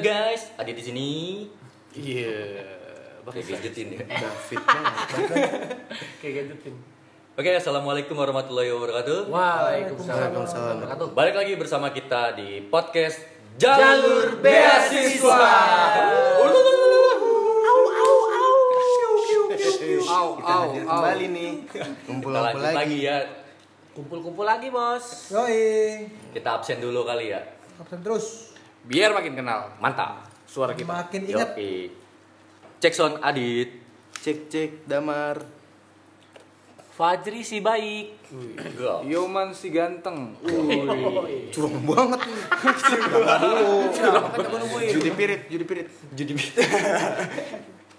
guys, ada di sini. Iya. Kayak Bangsat. gadgetin ya. David banget. Kayak gadgetin. Oke, assalamualaikum warahmatullahi wabarakatuh. Waalaikumsalam. Waalaikumsalam. Wabarakatuh. Balik lagi bersama kita di podcast Jalur Jalur Beasiswa. Beasiswa. Au, Kita au, hadir au. kembali nih. Kita Kumpul-kumpul lanjut lagi. lagi ya. Kumpul-kumpul lagi, Bos. Yoi. Kita absen dulu kali ya. Absen terus. Biar makin kenal Mantap. suara kita. Makin ingat. Yoi. Cek sound Adit. Cek cek damar. Fajri si baik. Go. Yoman si ganteng. Nah, Curang banget nih. Kan gua nungguin. judi pirit, judi pirit. Jadi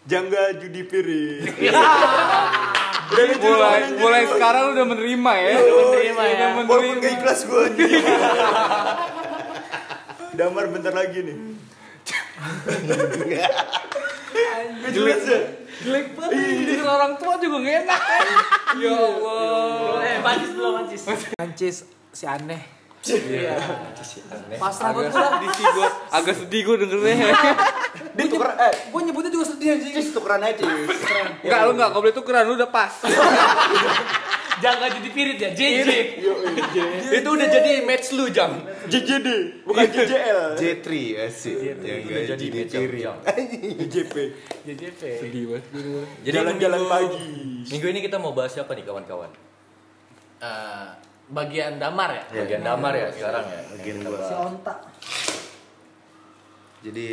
Jangga judi pirit. nah, mulai mulai sekarang lu udah menerima ya. Udah menerima ya. Udah Walaupun gak menerima. ikhlas gue Damar bentar lagi nih. Gua Jelas ya. Jelek banget. Dengan orang tua juga gak enak. ya Allah. Eh, Pancis belum Pancis. Iya. Ancis si aneh. Iya. Pasrah banget Agak sedih gua. Agak sedih gua dengernya. Iya. Dia tuker eh Gue nyebutnya juga sedih anjing. Cis tukeran aja Cis. Enggak lu enggak boleh tukeran lu udah pas. Jangan jadi pirit ya, JJ. Itu udah jadi match lu, Jam. JJD bukan JJL. J3 asik. Jangga Jadi judi match Jam. pirit. Jam. JP. JJP. Sedih banget. Jadi Jalan-jalan minggu- pagi. Minggu ini kita mau bahas apa nih kawan-kawan? Eh, bagian damar ya. Iya. Bagian damar ya sekarang ya. Bagian Kita gua. bahas. Jadi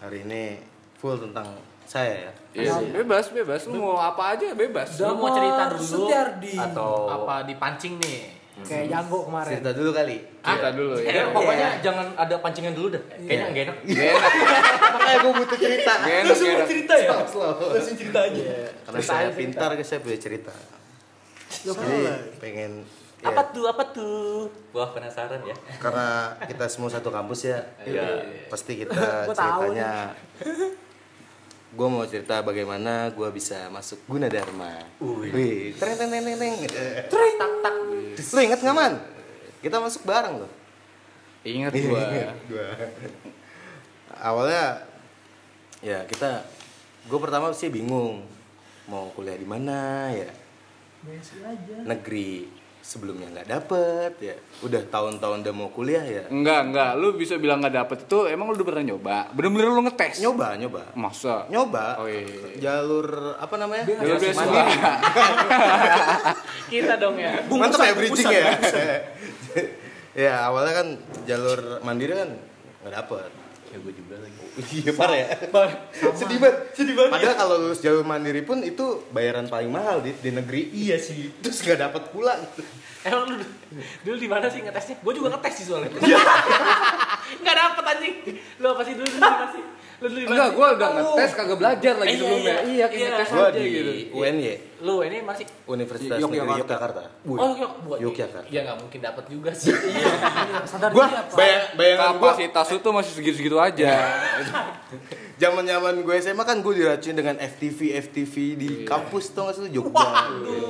hari ini full tentang saya ya. Iya, bebas, bebas. Lu mau apa aja bebas. Lu mau cerita dulu Setiardi. Atau Apa dipancing nih? Hmm. Kayak Janggo kemarin. Cerita dulu kali. Cerita dulu Ya, ya. Iya. pokoknya jangan ada pancingan dulu dah. Kayaknya enggak enak. Iya, Gak enak, Makanya gue butuh cerita. gak enak, gak enak. cerita ya? Slow. Langsung cerita aja. Karena saya pintar, guys, saya punya cerita. Jadi pengen ya, Apa tuh? Apa tuh? Wah, penasaran ya. karena kita semua satu kampus ya, Iya. pasti kita Gua tahu ceritanya. Gue mau cerita bagaimana gue bisa masuk Gunadarma. Wih, tereng tereng tereng tereng. Tak tak. Lu inget nggak man? Kita masuk bareng loh. Ingat gua. Iya, Dua. Awalnya ya kita gue pertama sih bingung mau kuliah di mana ya. Negeri sebelumnya nggak dapet ya. Udah tahun-tahun udah mau kuliah ya. Enggak, enggak. Lu bisa bilang nggak dapet itu emang lu udah pernah nyoba? Bener-bener lu ngetes? Nyoba, nyoba. Masa? Nyoba. Oh, iya. Jalur apa namanya? Jalur beasiswa. Kita dong ya. Mantap ya bridging ya. ya awalnya kan jalur mandiri kan nggak dapet. Ya gue juga lagi. Iya parah ya. sedih banget, sedih banget. Padahal kalau lulus jalur mandiri pun itu bayaran paling mahal di, di negeri. Iya sih. Terus nggak dapet pula. gitu. Emang Eh, lu dulu di mana sih ngetesnya? Gue juga ngetes sih soalnya. Enggak dapet anjing. Lu apa sih dulu di mana sih? Lu dulu di mana? Enggak, sih? gua udah ngetes kagak belajar Eh, lagi iya, sebelumnya. iya. Iya, kayak Iya. ngetes Gue aja di gitu. UNY Lu ini masih Universitas Yogyakarta. Negeri Iya. Yogyakarta. Oh, yok, buat Yogyakarta. Iya. Ya nggak mungkin dapat juga sih. Sadar Gue diri apa? bayang, bayangan gue Ya, Kapasitas lu tuh masih segitu-segitu aja. zaman zaman gue SMA kan gue diracun dengan FTV FTV di Iya. kampus tuh nggak sih lu, Jogja.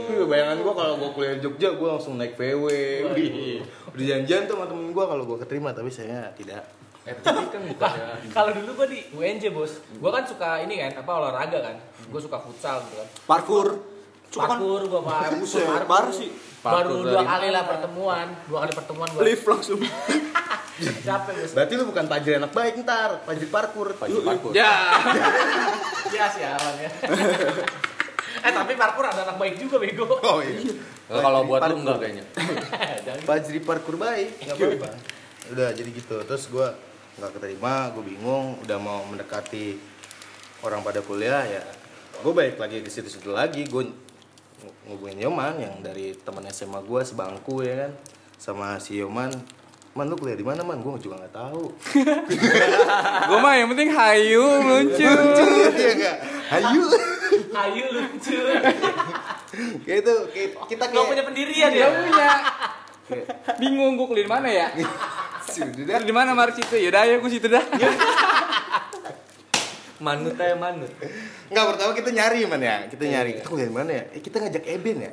Iya, Bayangan gue kalau gue kuliah di Jogja gue langsung naik VW. Wih. Udah janjian tuh sama temen gue kalau gue keterima tapi saya tidak. FTV kan bukannya ya. Kalau dulu gue di UNJ bos, gue kan suka ini kan, apa olahraga kan, gue suka futsal gitu kan. Parkur. Parkur gue pak, kan buset, parkur. baru sih. Baru Parkur dua dari kali lah pertemuan, dua kali pertemuan gue. Lift langsung. Capek bos. Berarti lu bukan pajir anak baik ntar, pajir parkur. Pajir parkur. ya. Ya sialan ya. eh tapi parkur ada anak baik juga bego. Eh, Oh iya. kalau buat lu Parkur. enggak kayaknya. Jangan. Fajri parkur baik nggak apa-apa udah jadi gitu terus gue nggak keterima gue bingung udah mau mendekati orang pada kuliah ya gue balik lagi ke situ-situ lagi gue ngubungin Yoman yang dari teman SMA gue sebangku ya kan sama si Yoman Man lu kuliah di mana man? Gue juga nggak tahu. Gua mah yang penting hayu meluncur. Iya nggak? Ayo. Ayu lucu. Kayak itu kayak- kita Gak punya kayak pendirian ya. Ya punya. Bingung gua kuliah di mana ya? sudah. Kuliah di mana Mars itu? Ya udah ayo gua situ dah. Manut aja manut. Eh, Nggak pertama kita nyari man ya. Kita nyari. Kita kuliah di mana ya? Eh kita ngajak Eben ya.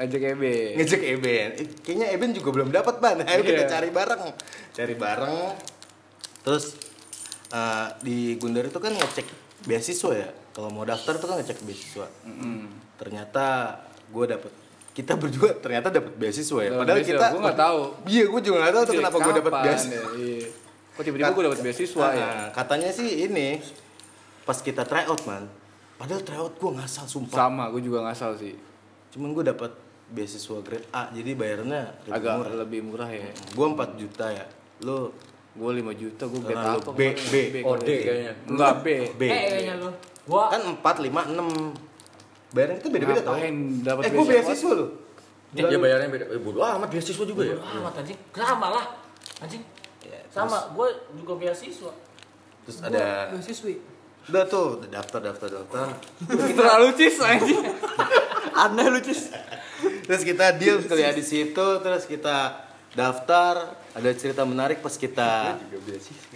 Ajak Ebe. ngejek Eben Eh, kayaknya Eben juga belum dapat ban ayo kita Iya. cari bareng cari bareng terus eh, di Gundar itu kan ngecek beasiswa ya. Kalau mau daftar itu kan ngecek beasiswa. Ternyata gue dapet kita berdua ternyata dapat beasiswa ya. Dapet Padahal beasiswa, kita gua nggak tahu. Iya, gue juga nggak tahu tuh kenapa gue dapat Kapan? beasiswa. Ya, iya. Kok tiba-tiba gue dapat beasiswa ya? Ah, Katanya sih ini pas kita tryout man. Padahal tryout gue ngasal sumpah. Sama, gue juga ngasal sih. Cuman gue dapat beasiswa grade A jadi bayarnya lebih Agak murah. lebih murah ya. Gue 4 juta ya. Lo Gue 5 juta, gue grade Karena lu apa? B, B. Oh, D kayaknya. Enggak B. B. Eh, iya, kayaknya lu. Gua kan 4, 5, 6 Bayarnya itu beda-beda tau Ngapain dapat Eh gue beasiswa? beasiswa loh Ya, Dia iya, bayarnya beda. Eh bodo amat beasiswa juga ya. Bodoh amat anjing. Sama lah. Anjing. Sama, gue juga beasiswa. Terus Ya. ada Lu siswi. Udah tuh udah daftar daftar daftar Terlalu cis anjing. Aneh lu, Cis. Terus kita deal tuh ya di situ Terus kita daftar Ada cerita menarik pas kita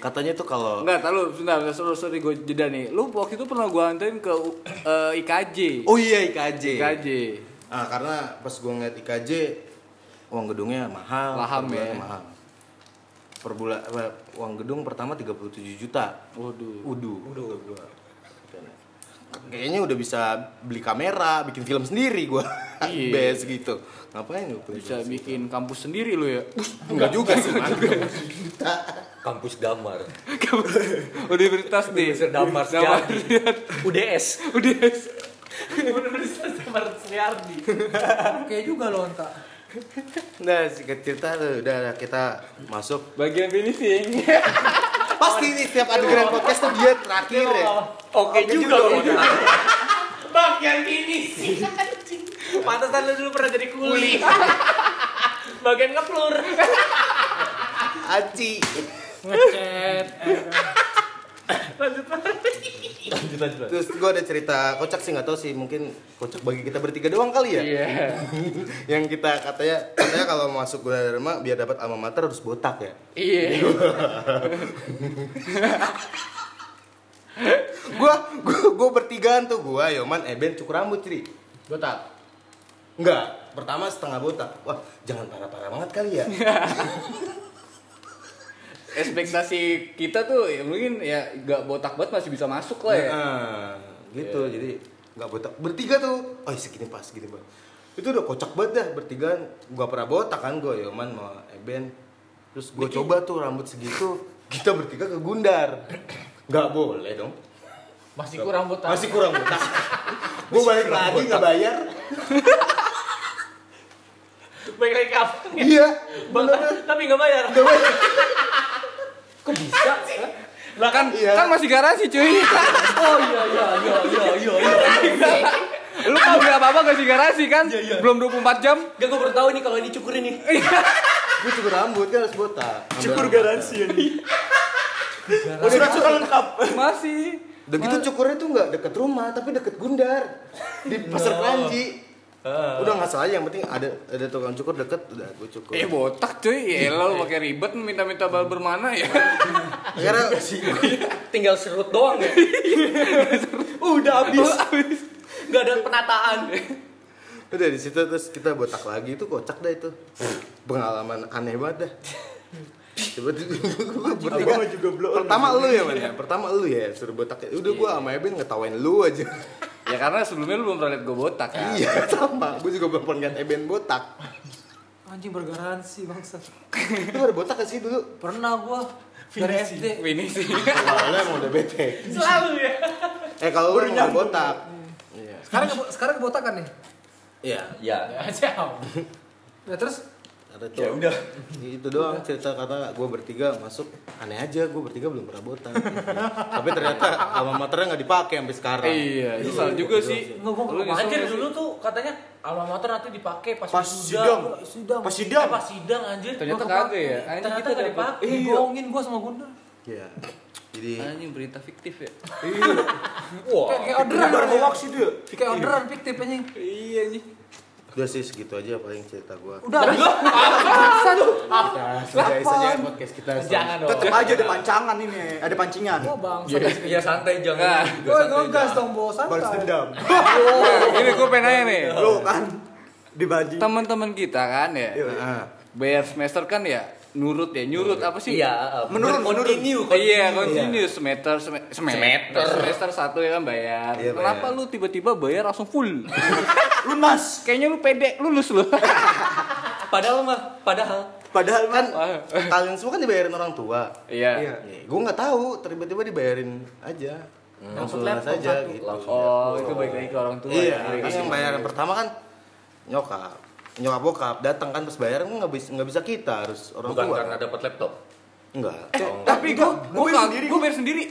Katanya tuh kalau Enggak, tahu sebentar, bentar, sorry, sorry gue jeda nih. Lu waktu itu pernah gue anterin ke eh, IKJ. Oh iya IKJ IKJ. Ah, Karena pas gue ngeliat IKJ Uang gedungnya mahal Laham per bulannya ya. mahal. Per bulan, eh, uang gedung pertama 37 juta Waduh. Udu. Kayaknya udah bisa beli kamera, bikin film sendiri gua. Iya. Bes gitu. Ngapain lu? Bisa bikin kampus sendiri lu ya. Enggak juga sih. Man. Kampus Damar. Universitas nih. Universitas Damar Sejati. UDS. Udah. Universitas Damar Sriardi. Oke juga lu, Anta. Nah, singkat cerita tuh, udah udah, kita masuk. Bagian finishing. Pasti nih setiap adegan podcast tuh dia terakhir Iya, ya. Oke juga. Bagian ini sih anjing. Pantesan lu dulu pernah jadi kuli. Bagian ngeplur. Aci. Ngecet. Lanjut lagi. Lanjut lanjut. lanjut. Terus gua ada cerita kocak sih nggak tahu sih, mungkin kocak bagi kita bertiga doang kali ya. Iya. Yang kita katanya katanya kalau masuk Gunadarma biar dapat alma mater harus botak ya. Iya. gua gua gua bertigaan tuh gua Yoman Eben cukur rambut Tri botak enggak pertama setengah botak wah jangan parah-parah banget kali ya Ekspektasi kita tuh ya mungkin ya nggak botak banget masih bisa masuk lah ya. Heeh, gitu jadi enggak botak bertiga tuh oh segini pas segini pas itu udah kocak banget dah bertigaan gua pernah botak kan gua Yoman sama Eben terus gua coba tuh rambut segitu kita bertiga ke Gundar nggak boleh dong Masih kurang botak. masih kurang botak gua balik lagi nggak bayar Baik lagi apa? iya beneran Botak, tapi nggak bayar. Nggak bayar. Kok bisa? Hah? Lah kan Iya. Kan masih garasi oh iya cuy. iya iya iya iya. iya. Lu mau beli apa-apa gak sih garasi kan? Belum 24 jam. Gak gue baru tahu nih kalau ini cukur ini. Iya. gue cukur rambut kan harus botak Cukur Ambil rambut. garansi ini. udah cukur lengkap Masih. udah gitu cukurnya tuh nggak deket rumah tapi deket Gundar di pasar Kranji udah nggak salah yang penting ada ada tukang cukur deket udah gue cukur Eh botak cuy, ya lo pakai ribet minta-minta bal bermana ya. akhirnya Tinggal serut doang ya. Udah habis. Oh, Gak ada penataan. udah di situ terus kita botak lagi itu kocak dah itu pengalaman aneh banget dah Coba tuh, gua bertiga. Pertama lu ya, man. ya? Pertama lu ya, suruh botak. Udah gua sama Eben ngetawain lu aja. ya karena sebelumnya lu belum pernah liat gue botak kan. Iya, sama. Gue juga belum pernah liat Eben botak. Anjing bergaransi, bangsat. Lu ada botak gak sih dulu? Pernah gua dari SD. Ini sih. Awalnya emang udah bete. Selalu ya. Eh kalau lu mau botak. Iya. Sekarang kebo- sekarang kebotakan nih. Iya. Ya. Jauh. Ya terus Ada tuh. udah. Itu doang cerita kata gue bertiga masuk aneh aja gue bertiga belum pernah botak. Tapi ternyata alma maternya nggak dipakai sampai sekarang. iya, nyesal juga sih. Nggak, gua Lu nyesel Anjir nggak sih? dulu tuh katanya alma mater nanti dipakai pas, Pas sidang. gua sidang. Pas Eh, sidang. pas sidang anjir. Ternyata Gua kagak kepake. ya? Anjing, Ternyata kita gak dapet- dipakai. Iya. Bohongin gua sama Gunda. Iya. Jadi Anjing berita fiktif ya. Kayak kayak orderan. itu ya. Kayak orderan fiktif anjing. Iya nih. Udah sih segitu aja paling cerita gue. Udah. Bangsat. Nah, selesai podcast kita. Jangan dong. Tetap aja ada pancangan ini, ada pancingan. Gua bangsat. Ya, iya, ya santai Iya. jangan. Oh, Gua ngegas dong, bos. Balas Santai. dendam. Nah, Ini gue pengen nanya nih. Lo kan dibanding Teman-teman kita kan ya. Nah, Bayar semester kan ya nurut ya nyurut apa sih eh, Iya, Menurun, menurun. continue. Iya, continue semester sem- Semester. semester semester satu ya kan bayar. Iya, Kenapa bayar. lu tiba-tiba bayar langsung full? Lunas. Kayaknya lu pede lulus lu. Padahal mah, padahal Padahal kan Kalian semua kan dibayarin orang tua. Iya. gue nggak tahu, tiba-tiba dibayarin aja. Langsung lunas aja gitu. Oh, itu baik lagi ke orang tua. Iya, ya. kan yang bayar yang pertama kan nyokap. Nyokap bokap datang kan pas bayar nggak bisa nggak bisa kita harus orang bukan tua. karena dapat laptop. Enggak. Tapi gua Gua gua bayar kag- sendiri. gua bayar sendiri.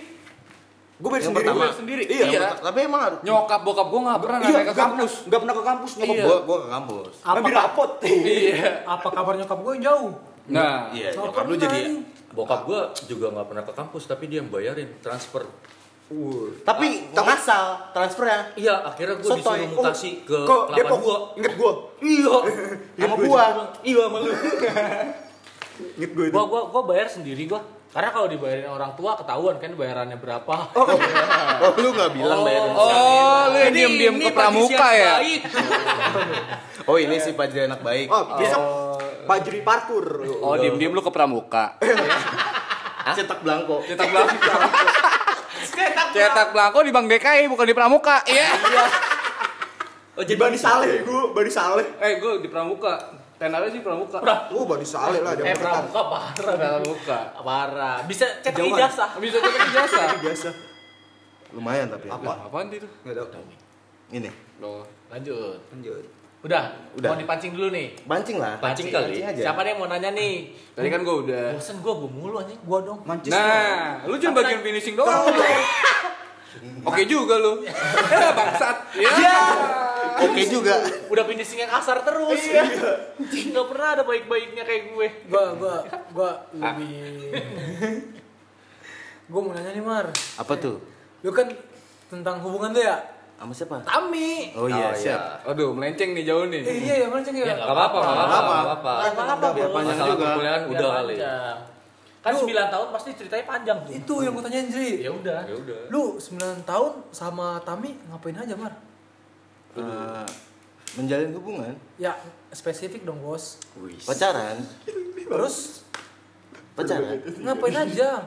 gue bayar Yang sendiri. pertama. Gua- Sendiri. Iya, Iya. tapi emang harus. Nyokap bokap gua nggak pernah Iya, naik ke nggak kampus. pernah- nggak pernah ke kampus nyokap Gue gue. gue ke kampus. Tapi rapot. Iya. Apa kabar nyokap gue yang jauh? Nah, Iya, Nggak nyokap lu pernah jadi nih. Bokap gua juga nggak pernah ke kampus, tapi dia yang bayarin transfer. tapi ngasal transfernya Iya, akhirnya gua disuruh mutasi ke ke kelapa Depok. dua. Ingat gue. Iya, sama gua. iya sama lu. Ingat gue itu. Gua gua gua bayar sendiri gua. Karena kalau dibayarin orang tua ketahuan kan bayarannya berapa. Oh, lu nggak bilang bayarin. Oh, lu yang diam-diam ke pramuka ya? Oh, ini si Pajri anak baik. Oh, besok Pajri parkur. Oh, diam-diam lu ke pramuka. Cetak belangko. Cetak belangko. Cetak belangko di Bank DKI bukan di pramuka. Iya. Oh, Di jadi Bani Saleh gue, Bani Saleh. Eh, gua di pramuka. Tenarnya sih pramuka. Gue Bani Saleh lah dia. Eh, pramuka parah. Pramuka. Parah. Bisa cek Jauhan. ijazah. Bisa cetak ijazah. biasa. Lumayan tapi. Apa? Apaan itu? Enggak tahu. Ini. Loh. Lanjut. Lanjut. Udah, Udah. mau dipancing dulu nih. Pancing lah. Pancing kali. Pancing aja. Siapa nih yang mau nanya nih? Tadi kan gua udah. Bosen gua, gua mulu anjing, gua dong. Manchester. Nah, lu cuma bagian finishing doang. Oke juga lu. Ya, Bangsat. Iya. Oke juga. Udah finishing yang kasar terus. Iya. Anjing, Nggak pernah ada baik-baiknya kayak gue. Gue gue gue Ah. lebih. gue mau nanya nih Mar. Apa tuh? Lu kan tentang hubungan tuh ya? Sama siapa? Tami. Oh iya, siap. Aduh, melenceng nih jauh Eh, nih. iya ya, mana ceng Ya, ya? Gak apa-apa, gak apa-apa, apa-apa. nggak apa-apa. Nggak apa-apa, biar Bang. panjang Masalah juga. perkuliahan Biar udah kali. Iya, panjang. Kan 9 tahun pasti ceritanya panjang tuh. Itu yang gue tanyain Jri. Iya. Ya udah. Ya udah. Lu 9 tahun sama Tami ngapain aja, Mar? Eh, menjalin hubungan, Ya, spesifik dong, Bos. pacaran, Terus pacaran. ngapain aja?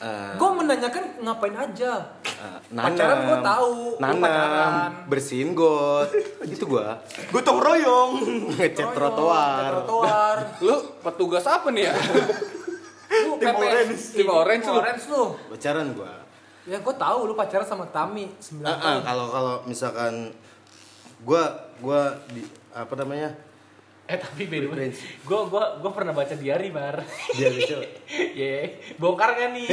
Eh, Gue menanyakan ngapain aja. eh, Pacaran gua tahu, lu nanam, pacaran. Nah, bersihin got, gitu gua, Gotong royong. ngecat Royong, trotoar, cat Trotoar. Lu petugas apa nih ya? Lu Tim PPS. orange. Tim orange lu. Orange lu. pacaran gua. Ya gue tahu lu pacaran sama Tami 9 Ah, ah, tahun. kalau kalau misalkan gua gua di apa namanya Eh tapi by the way, Friends. gua gua gua pernah baca diary, Mar. dia bisa Ye, bongkar kan nih?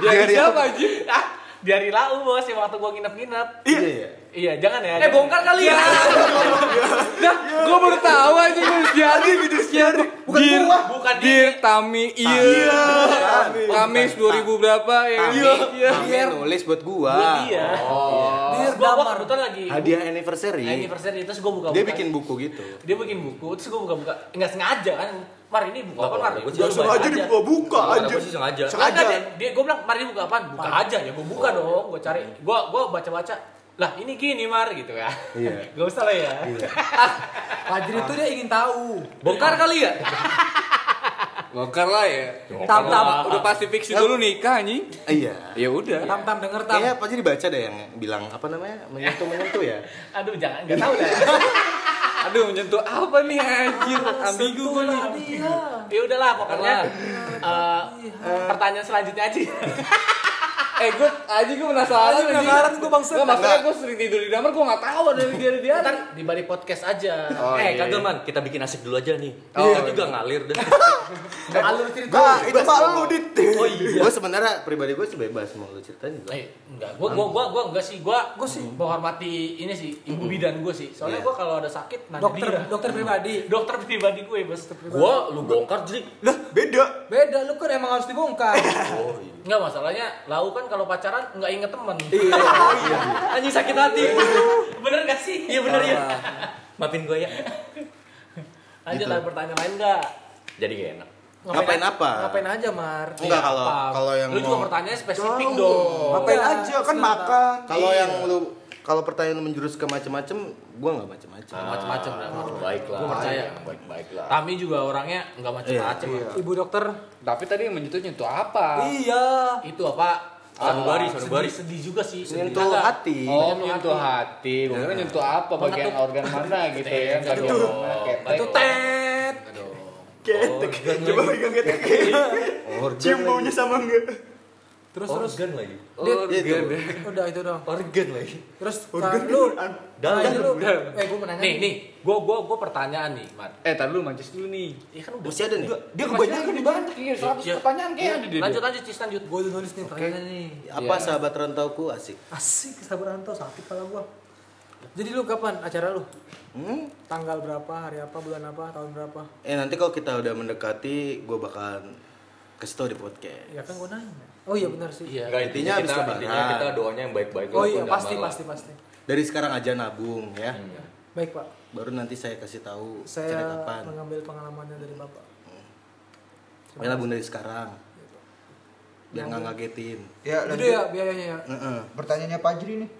Iya. Dia siapa aja? ah, diary lau bos yang waktu gua nginep-nginep. iya iya Iya, jangan ya. jangan. Eh bongkar kali ya. Dah, gua baru tahu aja gua jadi jadi Bukan dir gua. Bukan dir tami iya. Kamis 2000 berapa ya? iya iya nulis buat gua Buat dia. Oh. Dia Gua, gua damar. kebetulan lagi hadiah anniversary anniversary terus gua buka-buka. dia bikin buku gitu dia bikin buku terus gue buka-buka nggak sengaja kan mar ini buku Oh, apa mar oh, gua Gua sih lu Langsung baca aja dibuka-buka Kenapa aja. sih sengaja? Kagak, Sengaja. dia, dia gue bilang mar ini buka apaan buka aja ya gue buka dong gue cari gue gue baca-baca lah ini gini mar gitu ya Iya. gak usah lah ya Fajri itu dia ingin tahu. Bongkar kali ya? Bongkar lah ya. Tam tam Udah pasti fiksi dulu nikah anjing. iya Ya udah. tam tam denger tam. kayaknya apa aja dibaca deh yang bilang apa namanya menyentuh menyentuh ya aduh jangan nggak tahu dah Aduh menyentuh apa nih anjir? Ambigu gua nih. Sentuhlah dia. ya udahlah pokoknya Lah. eh, Iya. pertanyaan selanjutnya aja Eh gue aja gue Aji penasaran penasaran, gua bangsa. Gak maksudnya gue sering tidur di kamar gue gak tahu ada di dia dia. ntar di balik podcast aja Oh, eh, iya. kagak man, kita bikin asik dulu aja nih. Oh, Kita iya. juga ngalir dah. alur cerita Nah, itu Pak lu dit. Oh iya. gua sebenarnya pribadi gua sih bebas mau lu ceritain juga Eh, enggak, gua gua gua gua enggak sih, gua gua sih menghormati ini sih ibu bidan gua sih. Soalnya Iya. gua kalau ada sakit nanya Dokter dia. dokter pribadi. Nah, iya. dokter pribadi gue, Bos. Gua lu bongkar jadi. Lah, beda. Beda lu kan emang harus dibongkar. Oh iya. Enggak masalahnya, lau kan kalau pacaran enggak inget temen Iya. Anjing sakit hati. bener gak sih? Ah. Iya bener ya. Maafin gua ya. Lanjut Gitu. lah pertanyaan lain enggak? Jadi gak enak. Ngapain apa? Ngapain aja, Mar? Iya. enggak kalau Apa? kalau yang lu juga mau- pertanyaan spesifik dong. Ngapain Iya, aja kan sebentar. makan. kalau yang lu kalau pertanyaan menjurus ke macem-macem, gue nggak macem-macem. macam-macam lah. Baiklah. Gua ya, percaya. Baik-baiklah. Tami juga orangnya nggak macam-macam. Ibu dokter. Tapi tadi yang menyentuh-nyentuh Ah. apa? Iya. Itu apa? Sanubari, eh, sanubari. sedih- Sedih juga sih. Iya sedih. Nyentuh hati. Oh, menyentuh hati. Iya. Gue kira nyentuh apa, bagian Mengetuk. organ mana gitu ya. Enggak Bagian dong. mana, ketek. Itu Tet. Aduh. Ketek. Organ Coba lagi. pegang ketek. Organ Cium lagi. baunya sama enggak? Terus terus Organ lagi. Organ. udah itu dong. Organ lagi. Terus kan Organ lu kan Nah, Dalam. ini lu. Eh gua mau nanya. Nih, nih. Gua gua gua pertanyaan nih, Mat. Eh, tar dulu mancis dulu nih. Ya kan udah. Masih ada nih. Dia kebanyakan di banyak. Iya, 100 Iya. pertanyaan kayak ada di dia. Lanjut lanjut, Cis, lanjut. Gua udah nulis nih pertanyaan nih. Apa Iya. sahabat rantauku asik? Asik sabar rantau sakit kepala gua. Jadi lu kapan acara lu? Hmm? Tanggal berapa, hari apa, bulan apa, tahun berapa? Eh nanti kalau kita udah mendekati, gue bakalan kasih tau di podcast. Ya kan gua nanya. Oh iya benar sih. Iya. Enggak, Intinya habis kita, lebaran. intinya kita doanya yang baik-baik. Oh walaupun iya nggak pasti malah. pasti pasti. Dari sekarang aja nabung ya. Baik pak. Baru nanti saya kasih tahu cara Saya kapan. mengambil pengalamannya dari bapak. Pokoknya nabung dari sekarang. Biar nggak ngagetin. Gitu Ya, Gede lanjut. ya biayanya ya. Heeh. Pertanyaannya Pajri nih.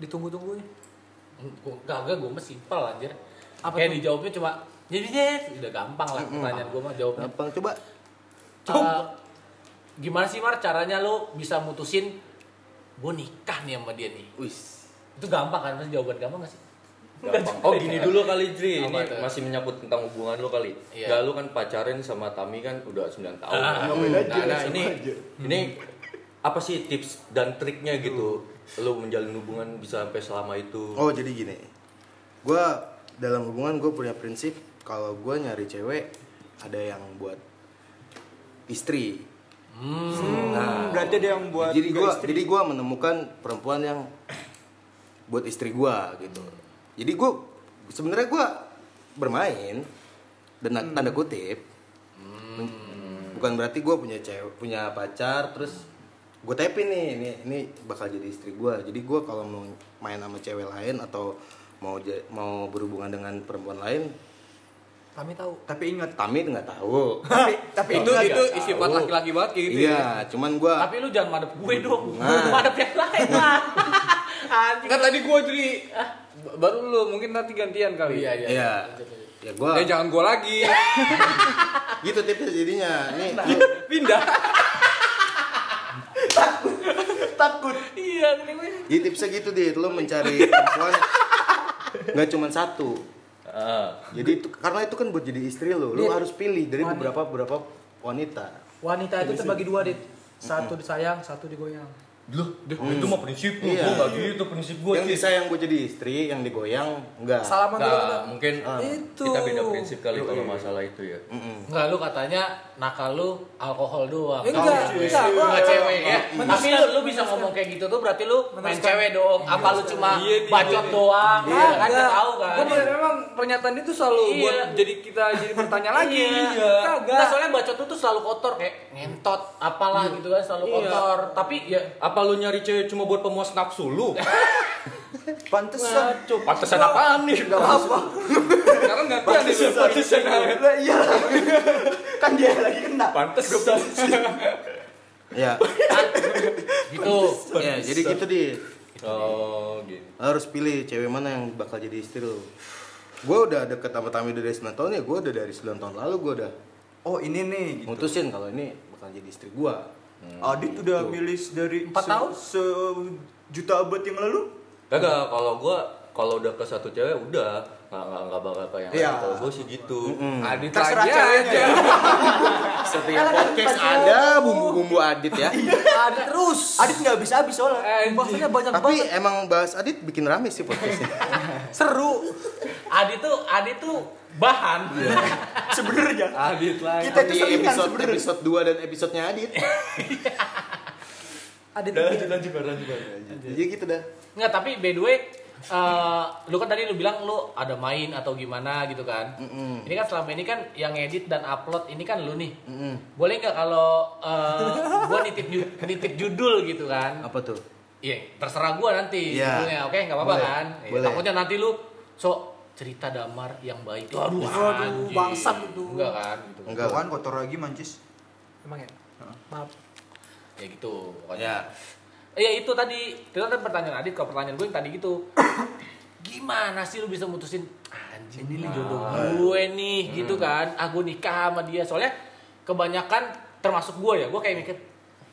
Ditunggu-tunggu ya. Enggak enggak gua mah simpel anjir. Apa Kayak tuh? dijawabnya cuma jadi nyet. udah gampang lah pertanyaan gua mah jawabnya. Gampang coba. Eh, gimana sih Mar caranya lo bisa mutusin gue nikah nih sama dia nih? Wis. Itu gampang kan? Pasti jawaban gampang gak sih? Iya. Gampang. Oh gini dulu kali Jri, ini Apa tuh? masih menyangkut tentang hubungan lo kali. Iya. Gak lu kan pacarin sama Tami kan udah 9 tahun. Ah. Ngapain aja? Nah, nah, sama ini aja. ini apa sih tips dan triknya gitu? Lo menjalin hubungan bisa sampai selama itu. Oh jadi gini, gue dalam hubungan gue punya prinsip kalau gue nyari cewek ada yang buat istri. Hmm, berarti ada yang buat jadi tiga gue istri. jadi gua menemukan perempuan yang buat istri gue gitu. Jadi gue sebenarnya gue bermain dan tanda kutip. Bukan berarti gue punya cewek punya pacar terus gue tapi nih ini ini bakal jadi istri gue. Jadi gue kalau mau main sama cewek lain atau mau ja- mau berhubungan dengan perempuan lain, Kami tahu. Tapi ingat Tamit nggak tahu. tapi tapi Itu ingat itu isi buat laki-laki banget kayak gitu. ya. Iya, cuman Nah, gue Tapi lu jangan madep gue dong, madep yang lain lah. Anjing. Kan tadi gua jadi Ah. baru lu mungkin nanti gantian kali. Iya, iya. Iya. ya gue Eh jangan gua lagi. gitu tipsnya jadinya. Nih, Pindah. takut. Iya, gini gue. Jadi tipsnya gitu deh, lo mencari perempuan nggak cuma satu. Ah. Jadi itu- karena itu kan buat jadi istri lo, lo Dit, harus pilih dari wanita. beberapa beberapa wanita. Wanita itu terbagi dua dit. Satu disayang, satu digoyang. Loh, Hmm. itu mah prinsip lu. Iya. Gua nggak gitu prinsip gua. Yang Ci. disayang buat jadi istri, yang digoyang enggak. Salaman dulu. kita. Nah, mungkin Itu. kita beda prinsip kali kalau masalah itu ya. Enggak, lu katanya nakal lu alkohol doang. Eh, enggak, enggak, gua- Enggak cewek ya. Meneruskan, Tapi lu, lu bisa meneruskan. ngomong kayak gitu tuh berarti lu main Meneruskan. cewek dong. Apa lu cuma Iya, iya. bacot doang? Iya. Kan enggak tahu kan. Gua memang pernyataan itu selalu Iya. buat jadi kita jadi bertanya lagi. Kagak. Nah, soalnya bacot lu tuh selalu kotor kayak ngentot apalah gitu kan selalu kotor. Tapi ya Iya. Apa lu nyari cewek cuma buat pemuas nafsu lu? Pantesan. Pantesan apaan nih? Gak apa-apa. Sekarang gantian di Pantesan. Nah, Lah, Iya. Kan dia lagi kena. Pantesan. Ya, gitu. ya jadi gitu deh. Oh, gitu. Harus pilih cewek mana yang bakal jadi istri lo. Gue udah deket sama Tami udah dari 9 tahun ya, gue udah dari 9 tahun lalu gue udah Oh, ini nih gitu. mutusin kalau ini bakal jadi istri gue. Adit udah milih dari Empat tahun? sejuta abad yang lalu. Kagak, kalau gua kalau udah ke satu cewek udah nggak nggak nggak bakal kayak yang Iya. lain. Kalau gua sih gitu. Nah, Adit Terserah lagi ceweknya. aja. Setiap podcast ada bumbu-bumbu adit ya. Iya, Ada terus. Adit nggak habis habis soalnya. Bahasanya banyak Tapi banget. emang bahas Adit bikin rame sih podcastnya. Seru. Iya. Adi tuh Adi tuh bahan. Sebenarnya Adit lagi. kita itu Di selingan kan episode sebenarnya. episode 2 dan episodenya Adit. Iya, Ada Udah lanjut lanjut Bar, lanjut Bar. iya, Jadi gitu dah. Nggak, tapi by the way, eh, lu kan tadi lu bilang lu ada main atau gimana gitu kan. Ini kan selama ini kan yang edit dan upload ini kan lu nih. Boleh nggak kalau eh, gua nitip ju- nitip judul gitu kan? Apa tuh? Iya, terserah gua nanti Iya. judulnya. Oke, nggak apa-apa Boleh, kan? Iya, boleh. takutnya nanti lu sok cerita damar yang baik. Aduh, aduh, anjing. bangsat itu. Enggak kan? Gitu. Enggak. Ya Enggak kan kotor lagi mancis. Emang ya? Maaf. Ya gitu. Pokoknya Ya. Iya itu tadi, itu kan pertanyaan Adit, kalau pertanyaan gue yang tadi gitu Gimana sih lu bisa mutusin, anjing ini jodoh gue nih gitu kan Ah gue nikah sama dia, soalnya kebanyakan termasuk gue ya, gue kayak mikir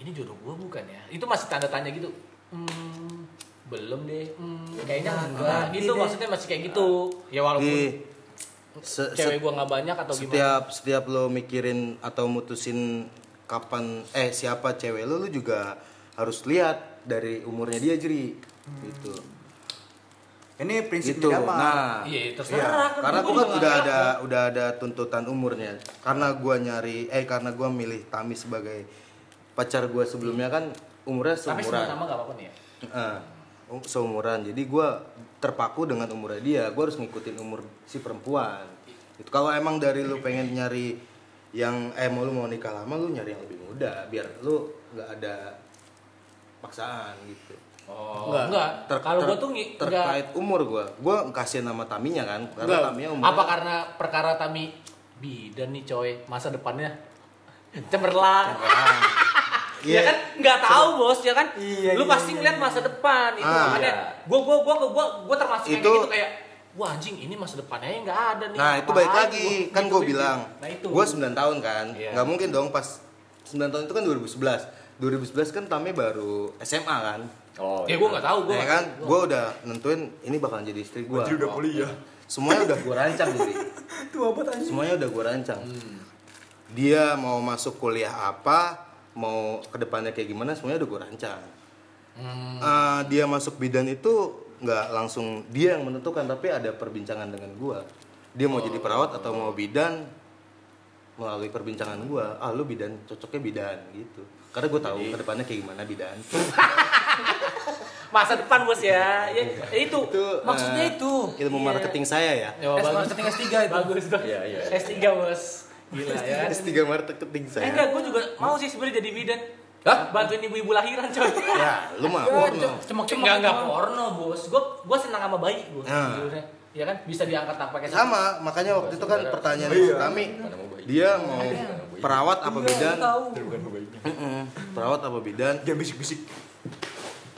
Ini jodoh gue bukan ya, itu masih tanda tanya gitu Hmm, belum deh, hmm, kayaknya enggak gitu maksudnya masih kayak gitu Ya walaupun Di se- se- cewek gue nggak banyak atau gimana Iya, setiap setiap lo mikirin atau mutusin kapan eh siapa cewek lo lo juga harus lihat dari umurnya dia jadi Hmm. gitu Ini prinsip gitu tidak apa. nah Iya Iya, terserah kan karena gue gua kan juga udah nggak ada tahu. udah ada tuntutan umurnya. Karena gua nyari eh karena gua milih Tami sebagai pacar gua sebelumnya kan umurnya Tapi sebut seumuran. nama nggak apa-apa nih ya Eh, um- seumuran. Jadi gua terpaku dengan umurnya dia. Gua harus ngikutin umur si perempuan. Itu kalau emang dari lu pengen nyari yang eh mau lu mau nikah lama lu nyari yang lebih muda biar lu nggak ada paksaan gitu. Oh, enggak. Ter- Kalau ter- gua tuh ngi- enggak. terkait umur gua. Gua kasih nama Taminya kan. Karena Taminya umurnya Apa karena perkara Tami bidan nih coy, masa depannya cemerlang. Iya. Ya kan nggak tahu bos ya kan. Lu pasti ngeliat masa depan itu iya. Ah. makanya. Iya. Gua gua gua gua gua termasuk yang Itu- kayak gitu kayak wah anjing ini masa depannya ya nggak ada nih. Nah itu Apaan baik lagi, gua- kan gitu, gue gitu. bilang, Nah itu. gue 9 tahun kan, Iya. nggak mungkin dong pas 9 tahun itu kan 2011, 2011 kan Tami baru SMA kan, Oh, Ya gua nggak tahu gua. ya kan, gue udah nentuin ini bakal jadi istri gue, Jadi udah kuliah. semuanya udah gue rancang jadi, Itu apa tadi? semuanya udah gue rancang, dia mau masuk kuliah apa, mau kedepannya kayak gimana, semuanya udah gue rancang, Eh, dia masuk bidan itu nggak langsung dia yang menentukan, tapi ada perbincangan dengan gue, dia mau jadi perawat atau mau bidan, melalui perbincangan gua ah lu bidan cocoknya bidan gitu karena gue tahu ke depannya kayak gimana bidan Masa depan bos ya. Ya, ya itu. Iya. eh, Maksudnya itu. ilmu marketing saya ya Ya, S bagus. marketing S3 itu. Bagus dong. Iya, iya. S3 bos. Gila ya. kan? S3 marketing Eh, saya enggak, gue juga mau sih sebenarnya jadi bidan. Hah? Bantuin ibu-ibu lahiran coy. ya lu mah porno iya. Cemek-cemek. Enggak enggak porno, Bos. Gue gue senang sama bayi, Bos. Nah. Sejujurnya. Iya kan? Bisa diangkat tanpa pakai sama makanya waktu itu kan pertanyaan Iya. kami dia mau perawat Iya, apa bidan Mm-mm, perawat apa bidan Dia bisik-bisik.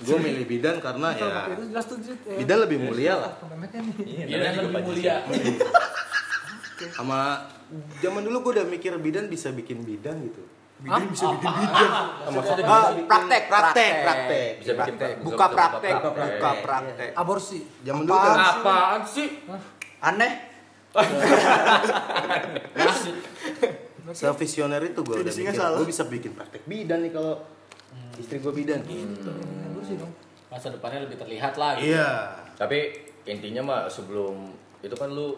gue milih bidan karena ya Itu jelas tuh. Jit. Eh, bidan lebih mulia lah Kememetnya nih. Iya, dan lebih mulia. sama zaman dulu gue udah mikir bidan bisa bikin bidan gitu Bidan bisa Ah, bikin bidan. sama praktek, praktek praktek Bisa bikin praktek. Buka praktek, Buka praktek. buka praktek. Aborsi. zaman dulu kan Apaan sih? Aneh. Sevisioner itu gue udah Finishingnya mikir, salah. gue bisa bikin praktek bidan nih kalau istri gue bidan. Hmm. Aborsi dong. Masa depannya lebih terlihat lah. gitu. Iya. Tapi intinya mah sebelum itu kan lu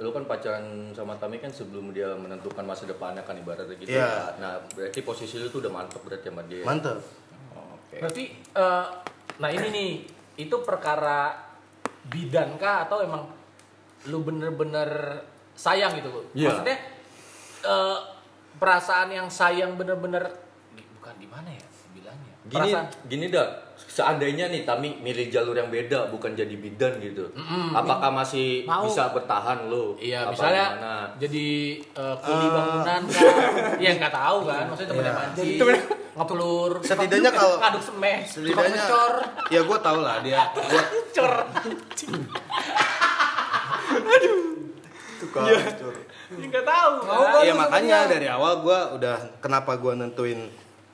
lu kan pacaran sama Tami kan sebelum dia menentukan masa depannya kan ibaratnya gitu. Iya. ya. Nah, berarti posisi lu tuh udah mantep berarti sama dia. Mantap. Oke. Berarti eh, nah ini nih, itu perkara bidan kah atau emang lu bener-bener sayang gitu, Bu? Iya. Maksudnya eh, perasaan yang sayang bener-bener bukan gimana ya bilangnya? Gini Perasaan gini dah. Seandainya nih Tami milih jalur yang beda bukan jadi bidan gitu. Apakah masih Mau. bisa bertahan lu? Iya, Apa misalnya gimana? jadi eh, kuli bangunan kan. ya nggak tahu kan, maksudnya temennya mancing, ngeplur, Setidaknya kalau- ngaduk semeh, tukang Setidaknya, ngecor, ya gue tau lah dia. Gua, cor. Iya. Tukang. cur. Ya nggak tahu. Mau kan. gua ya lu makanya sebenarnya. dari awal gue udah kenapa gue nentuin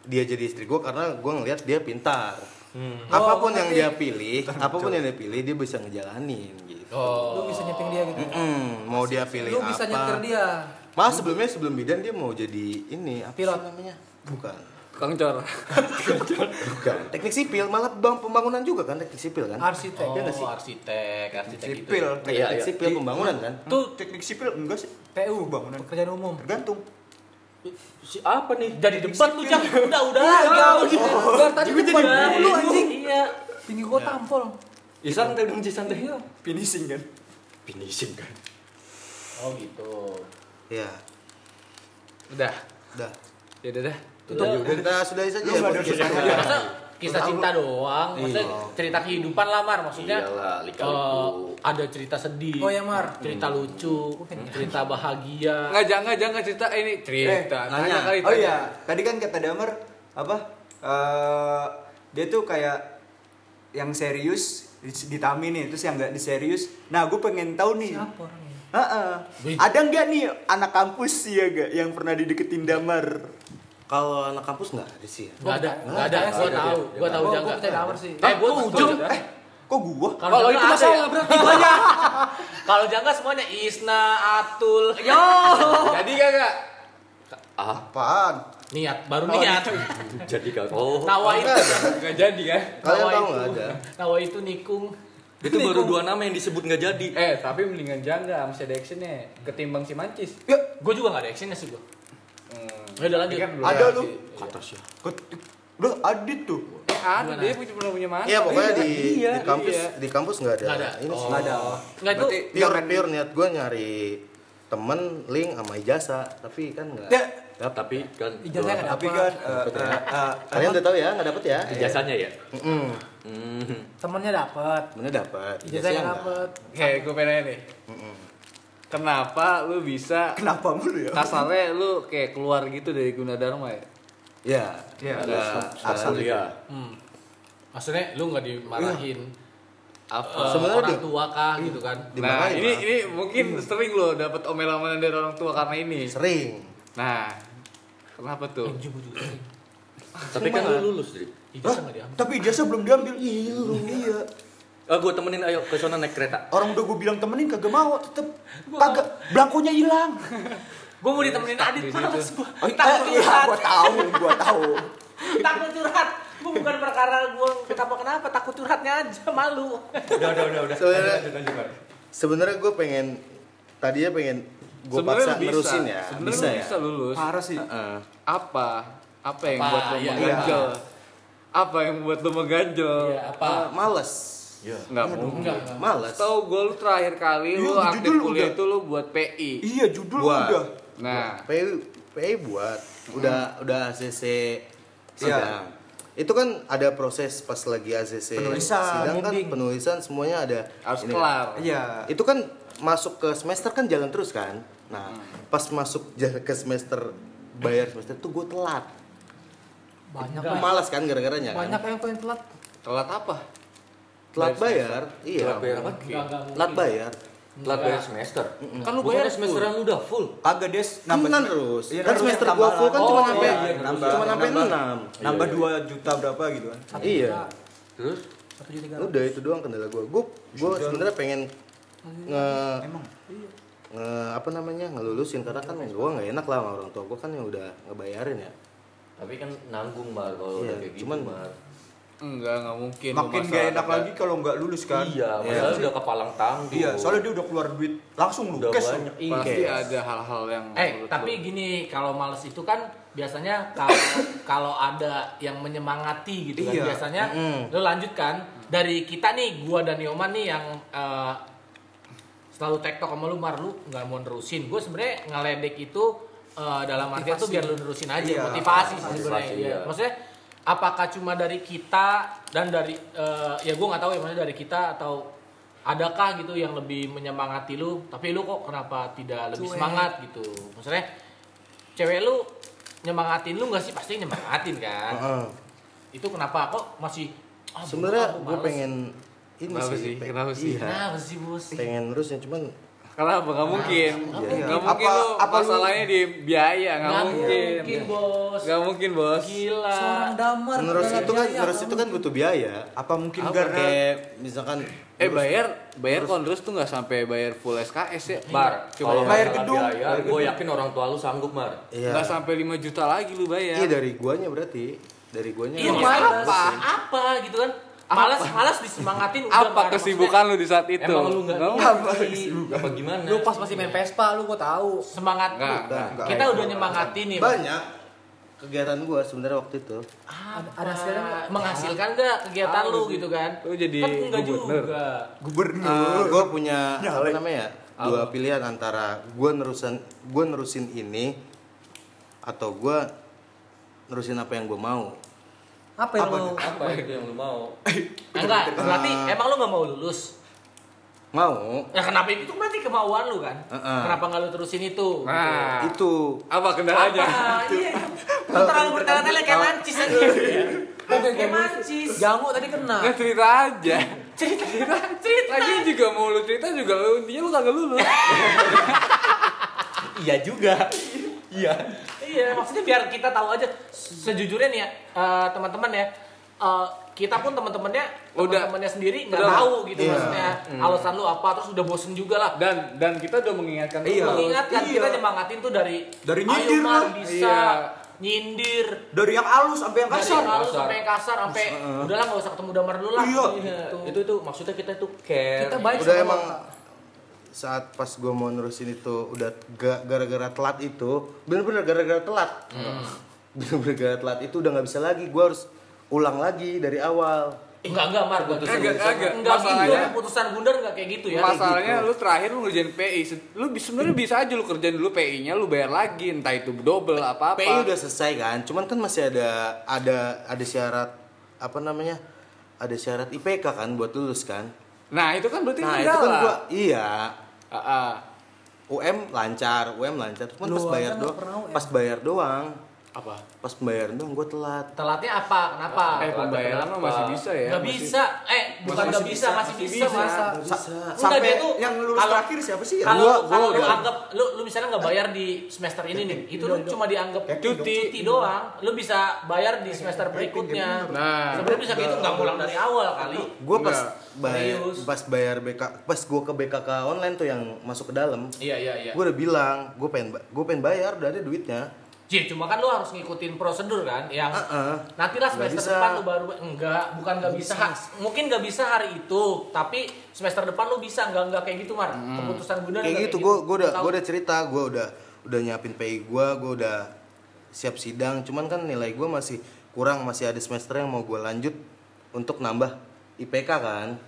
dia jadi istri gue karena gue ngelihat dia pintar. Hmm. Apapun yang dia pilih, apapun yang dia pilih dia bisa ngejalanin gitu. Lu bisa nyeting dia gitu. Mm, mau dia pilih Oh. Lu apa? bisa nyetir dia. Malah sebelumnya sebelum bidan dia mau jadi ini apa sih Pilot. namanya? Bukan. Kang Cor. Bukan. Teknik sipil, malah bang pembangunan juga kan teknik sipil kan? Arsitek. Oh, Iya nggak sih? arsitek, arsitek gitu. itu. Sipil. Iya, Teknik iya. sipil pembangunan kan? Tuh teknik sipil enggak sih? TU Bangunan. Pekerjaan umum. Tergantung. Si apa nih? Jadi debat lu, Cang. Udah, udah. udah. Biar tadi Juga depan jadi dulu anjing. Iya. Tinggi gua tampol. Ih, santai dong, Ci, santai. Iya. Finishing kan. Finishing kan. Oh, gitu. Iya. Udah. Udah. Ya udah dah. Tutup. Kita sudahi saja ya podcastnya. Masa kisah cinta doang, maksudnya Iya. cerita kehidupan lamar maksudnya. Iyalah, Gitu. eh, lika-liku. ada cerita sedih. Oh, ya, Mar. Cerita lucu, cerita bahagia. Enggak jangan jangan cerita eh, ini cerita. nanya. kali Oh tanya. iya, tadi kan kata Damar apa? Eh dia tuh kayak yang serius di- ditaminin terus yang nggak diserius nah gue pengen tahu nih Siapa orangnya? Heeh. ada nggak nih anak kampus ya gak yang pernah dideketin damar Kalau anak kampus nggak ada sih ya. Enggak ada, enggak ada. nggak Gua ada. tahu, Gua- gua tahu gua jangka. percaya damar sih. Eh, gua ujung. eh kok gua Kalau itu masalah, berarti semuanya. Kalau jangka semuanya Isna, Atul. Yo. Oh. Jadi kagak? Apaan? Niat, baru niat. Ah, Jadi kagak. Oh. Tawa itu, Nggak jadi kan? Kalian Tawa tahu itu. nggak ada? tawa itu nikung. Itu baru dua nama yang disebut nggak jadi. Eh tapi mendingan jangga masih ada actionnya ketimbang si mancis. Gue juga nggak ada actionnya sih gue. Ya udah lanjut. Kan belum ada ya, lu si- Kata siapa? Kok- udah adit tuh Eh, ada dia punya belum punya mancis. Iya pokoknya di iya, di kampus iya. di kampus nggak ada. Nggak ada. Ini sih. nggak ada Oh. Nggak itu. Berarti- Pure pure niat gue nyari temen link sama ijazah tapi kan nggak. Ya, Ya, tapi kan Ijazah nggak tapi kan eh, eh, eh, Kalian udah tahu ya nggak dapet ya? ijazahnya ya. Mm-mm. Hmm. Temennya dapet. Bener dapet. Ijazah Ijazahnya nggak nggak. dapet. Oke, gue pengen nanya nih. Kenapa lu bisa kenapa mulu ya kasarnya lu kayak keluar gitu dari Gunadarma ya? Iya. Iya, Ada asal Kuliah. Hmm. Maksudnya lu nggak dimarahin Iya. Apa? eh, Sebenarnya orang dia- tua kah gitu kan? Nah, Dimarahin, ini Pak. ini mungkin sering lo dapat omelan-omelan dari orang tua karena ini. Sering. Nah, kenapa Eh, tuh? Tapi kan lu lulus, Dri. Ijazah nggak diambil. tapi ijazah belum diambil iya iya Ah, gua temenin ayo ke sana naik kereta. orang udah gue bilang temenin kagak mau tetep kagak belangkonya hilang Gue mau ditemenin Adit, males gue. Eh, Takut iya curhat, gue tahu gue tahu takut curhat. Gue bukan perkara gue kenapa kenapa, takut curhatnya aja malu. Udah, udah, udah, udah. Sebenarnya- Sebenarnya gue pengen tadinya pengen gue Sebenarnya paksa lu bisa. nerusin ya. Sebenarnya Bisa lu ya. bisa lulus. parah sih Heeh. Apa? Apa yang Apa? buat lo Iya. mengganjel? Apa yang buat lo mengganjel? Iya, apa? Eh, Males. Nggak mungkin. Enggak. Males. Tahu gue lu terakhir kali Iya, lu judul aktif udah. kuliah itu lu buat PI. iya judul Buat. udah Nah, PI PI buat udah Hmm. udah ACC Iya. sidang. Itu kan ada proses pas lagi ACC Penulisan, sidang kan penulisan semuanya ada harus ini kelar. iya kan. Itu kan masuk ke semester kan jalan terus kan. Nah, Hmm. pas masuk ja- ke semester bayar semester tuh gue telat. Banyak Gue Nah. yang- malas kan gara-garanya. kan. banyak yang pengen telat. Telat apa? Telat bayar, iya. Telat bayar apa? Enggak, enggak mungkin. Telat bayar. Telat bayar semester. Kan lu Bukannya bayar semesteran lu Iya, udah full. kagak des Iya, Nambah kan terus. Iya, kan semester gua full kan Oh, Oh, cuma sampai cuma sampai 6. nambah Iya, dua juta berapa gitu kan Satu Iya. juta, Terus Satu juta tiga ratus. Udah itu doang kendala gua. Gua gua sebenarnya pengen nge, emang nge apa namanya? ngelulusin karena kan gua nggak enak lah sama orang tua gua kan yang udah ngebayarin ya. tapi kan nanggung Mar kalau Iya, udah kayak gitu, cuman- Mar. Enggak, enggak mungkin. lu makin masa gak enak ada- lagi kalau nggak lulus kan Iya, masalah udah kepalang tanggung. iya soalnya dia udah keluar duit langsung lu udah cash lu. banyak. Iya. Pasti ada hal-hal yang Eh, menurut tapi lu- gini, kalau males itu kan biasanya kalau kalau ada yang menyemangati gitu kan. Iya. Biasanya lo lanjut kan dari kita nih, gua dan Yoman nih yang eh, selalu tektok sama lu Mar lu nggak mau nerusin. Gue sebenarnya ngeledek itu eh, dalam artian tuh biar lu nerusin aja Iya, motivasi sih motivasi, iya. sebenarnya. Maksudnya apakah cuma dari kita dan dari eh, ya gua nggak tahu ya maksudnya dari kita atau adakah gitu yang lebih menyemangati lu tapi lu kok kenapa tidak lebih semangat gitu maksudnya cewek lu nyemangatin lu nggak sih pasti nyemangatin Ah. kan Heeh. itu kenapa kok masih ah, Sebenarnya aku gua males. pengen ini Kenapa sih? pe- Kenapa sih? iya, kenapa sih bos pengen nerusin cuman Kenapa? Gak mungkin. iya. Gak mungkin Apa- lu apa lu- masalahnya di biaya, gak nggak mungkin. mungkin bos Gak mungkin, Bos. Eh, gila Seorang damar. Nerus dalam itu kan biaya, nerus kamu. itu kan butuh biaya. apa mungkin Apa? karena kayak misalkan Eh bayar, bayar kondros tuh nggak sampai bayar full Iya. SKS Bar, ya, Bar. kalau Coba bayar masalah gedung, biaya, bayar gue gedung. yakin orang tua lu sanggup, Mar. iya. nggak sampai ya. 5 juta lagi lu Iya bayar. dari guanya berarti dari guanya. Iya, Iya. masalah apa apa gitu kan malas malas disemangatin udah, Mar. Apa Maksudnya, kesibukan lu di saat itu? Emang lu nggak Nggak ngerti? apa gimana? Lu pas masih main Vespa lu gua tahu. semangat lu. Nggak, nggak, kita udah gitu. nyemangatin nih Banyak kegiatan gua sebenarnya waktu itu. Ada ada hasilnya Ah, nggak? menghasilkan nggak kegiatan lu gitu kan Lu jadi kan enggak gubernur. juga gubernur gue Ah, punya apa namanya ya? Dua pilihan antara gue nerusan gue nerusin ini atau gue nerusin apa yang gue mau. Apa yang lu? apa itu yang lu mau? enggak berarti emang lu nggak mau lulus Mau ya kenapa itu berarti kemauan lu kan Heeh. kenapa nggak lu terusin itu Gitu. Nah, itu apa kendalanya? iya. Apa? Iya, itu. Lu terlalu bertele-tele kayak mancis aja. mau Udah, Kayak jamu- mancis. Eh. Jamu tadi kena. Nggak cerita aja. Cerita, cerita, cerita. Lagi juga mau lu cerita juga lu intinya lu kagak lulus. Iya juga. Iya. Iya, maksudnya biar kita tahu aja. Sejujurnya nih ya, eh, teman-teman ya, eh, kita pun teman-temannya, Udah. teman-temannya sendiri nggak Udah. tahu gitu Iya. maksudnya. Alasan lu apa? Terus udah bosen juga lah. Dan dan kita udah mengingatkan lu Iya. kalau- Mengingatkan Iya. kita nyemangatin tuh dari Dari "Ayo, nyindir Mar, lah." bisa Iya. nyindir. Dari yang halus sampai yang Dari kasar. yang halus sampai yang kasar sampai udahlah nggak usah ketemu damar dulu lah. Iya. Gitu. Itu itu maksudnya kita itu care. Kita baik udah sama emang orang. saat pas gue mau nerusin itu udah ga- gara-gara telat itu bener-bener gara-gara telat Hmm. bener-bener gara telat itu udah nggak bisa lagi gue harus ulang lagi dari awal Eh, enggak enggak Mar, gua tuh Kagak, kagak. Enggak gitu, Masalahnya- keputusan bundar enggak kayak gitu ya. Masalahnya lu terakhir lu ngerjain PI, Se- lu bi- sebenarnya bisa aja lu kerjain dulu PI-nya, lu bayar lagi, entah itu double apa apa. PI udah selesai kan cuman kan masih ada ada ada syarat apa namanya ada syarat IPK kan buat lulus kan Nah itu kan berarti nah nah, itu kan lah. gue iya Ah, ah. UM lancar UM lancar cuman pas Lu bayar kan nggak doang pernah UM. pas bayar doang Apa? pas pembayaran doang gue telat Telatnya apa? Kenapa? Eh pembayaran mah masih bisa ya. Gak masih- bisa, eh bukan masih gak bisa, masih bisa, masa. Enggak, dia Sampai tuh yang lulus kalau- terakhir siapa sih? Ya? Kalau Gua- gua kalau lu udah- anggap lu lu misalnya nggak bayar di semester ini nih, itu lu cuma dianggap cuti, cuti doang. Lu bisa bayar di semester berikutnya. Nah. sebenarnya bisa gitu nggak ngulang dari awal kali. gue pas Enggak. bayar Serius. pas bayar BK pas gue ke BKK online tuh yang masuk ke dalam Iya iya iya. gue udah bilang gue pengen gue pengen bayar udah ada duitnya Ji, cuma kan lu harus ngikutin prosedur kan yang Heeh. nanti lah Nggak semester bisa. depan lu baru enggak, bukan nggak bisa. Mungkin nggak bisa hari itu, tapi semester depan lu bisa nggak nggak kayak gitu, Mar. Keputusan bener nggak kayak gitu gue gue udah Tahu. gue udah cerita gue udah udah nyiapin PI gue gue udah siap sidang cuman kan nilai gue masih kurang masih ada semester yang mau gue lanjut untuk nambah IPK kan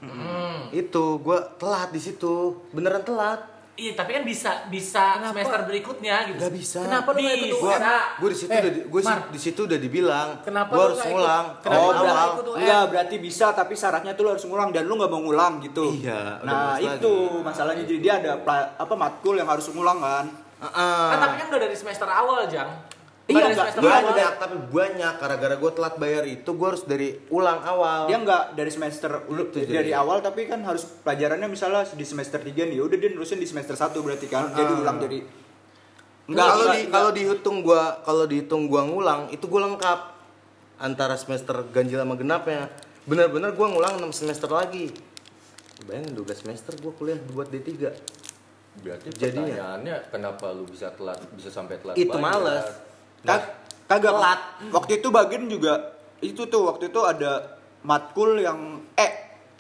itu gue telat di situ beneran telat Iya, tapi kan bisa bisa semester berikutnya gitu. nggak bisa Kenapa lu nggak ikut gue UN? gue di situ Eh, udah di- gua Mar. di situ udah dibilang Kenapa gue lu harus nggak ikut- ngulang kenapa Oh, lu nggak awal. ikut UN? Enggak, Iya, berarti bisa tapi syaratnya tuh lo harus ngulang dan lu nggak mau ngulang gitu. Iya, udah Nah, males itu masalahnya jadi dia ada pla- apa matkul yang harus ngulang kan. Heeh. Kan tapi kan nggak dari semester awal, Jang. Nggak Iya, Kan dari nggak. semester Gua Nggak awal. banyak tapi banyak gara-gara gue telat bayar itu gue harus dari ulang awal Dia nggak dari semester tuh dari jadi. awal tapi kan harus pelajarannya misalnya di semester 3 nih. Udah dia nerusin di semester 1 berarti kan. Jadi ulang jadi Nggak, kalau nggak, di nggak. kalau dihitung gue kalau dihitung gue ngulang itu gue lengkap antara semester ganjil sama genapnya benar-benar gue ngulang 6 semester lagi bayangin 12 semester gue kuliah buat D3 Berarti Jadinya. pertanyaannya kenapa lu bisa telat bisa sampai telat? itu banyak? males Kag- kagak Waktu itu Bagin juga itu tuh waktu itu ada matkul yang eh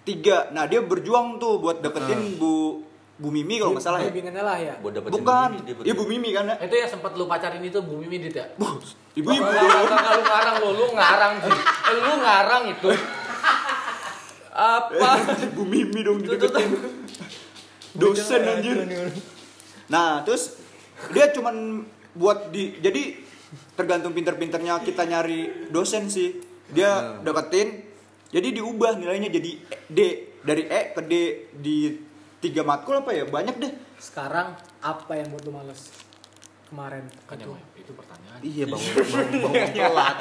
tiga. Nah dia berjuang tuh buat deketin Bu Bu Mimi kalau nggak salah ya. Bimbingannya lah ya. Buat dapetin Bukan, duit, dia ibu Mimi kan ya? Itu yang sempat lu pacarin itu Bumi Midit ya? Ibu Lu ibu. ngarang, lu ngarang lu, lu ngarang sih. Eh, Lu ngarang itu. Apa? ibu Mimi dong dideketin. Dosen anjir. Nah, terus dia cuman buat di jadi tergantung pinter-pinternya kita nyari dosen sih. Dia deketin jadi diubah nilainya jadi D dari E ke D di tiga matkul apa ya? Banyak deh. Sekarang apa yang buat lu males? Kemarin itu. Itu pertanyaan. iya bangun bangun, bangun telat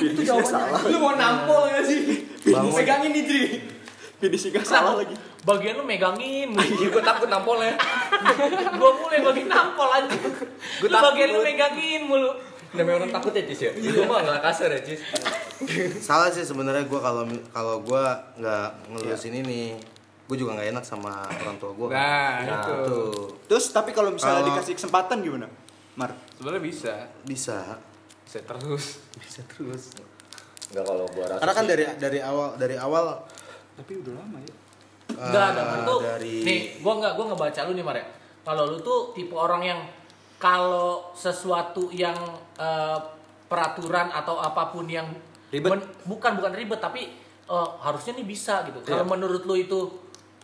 Itu jawabannya. Lu mau nampol gak sih? Bangun. Pegangin nih, Dri. Finishing gak salah lagi. Bagian lu megangin, gue takut nampolnya. gue mulai bagian nampol aja. Lu bagian lu megangin mulu. Namanya orang takut ya Cis ya? Gue mah gak kasar ya Cis salah sih sebenarnya gue kalau kalau gue nggak ngelusin ini gue juga nggak enak sama orang tua gue Nah, itu. Terus tapi kalau misalnya Kalau- dikasih kesempatan gimana? Mar. Sebenarnya bisa. bisa Bisa terus. bisa terus Enggak kalau gua rasa karena kan dari dari awal dari awal Tapi udah lama ya. Enggak, ada eh, itu. dari Nih, gue nggak gue ngebaca lu nih Mare. Kalau lu tuh tipe orang yang kalau sesuatu yang eh, peraturan atau apapun yang Ribet. bukan bukan ribet tapi eh, harusnya nih bisa gitu. Kalau menurut lu itu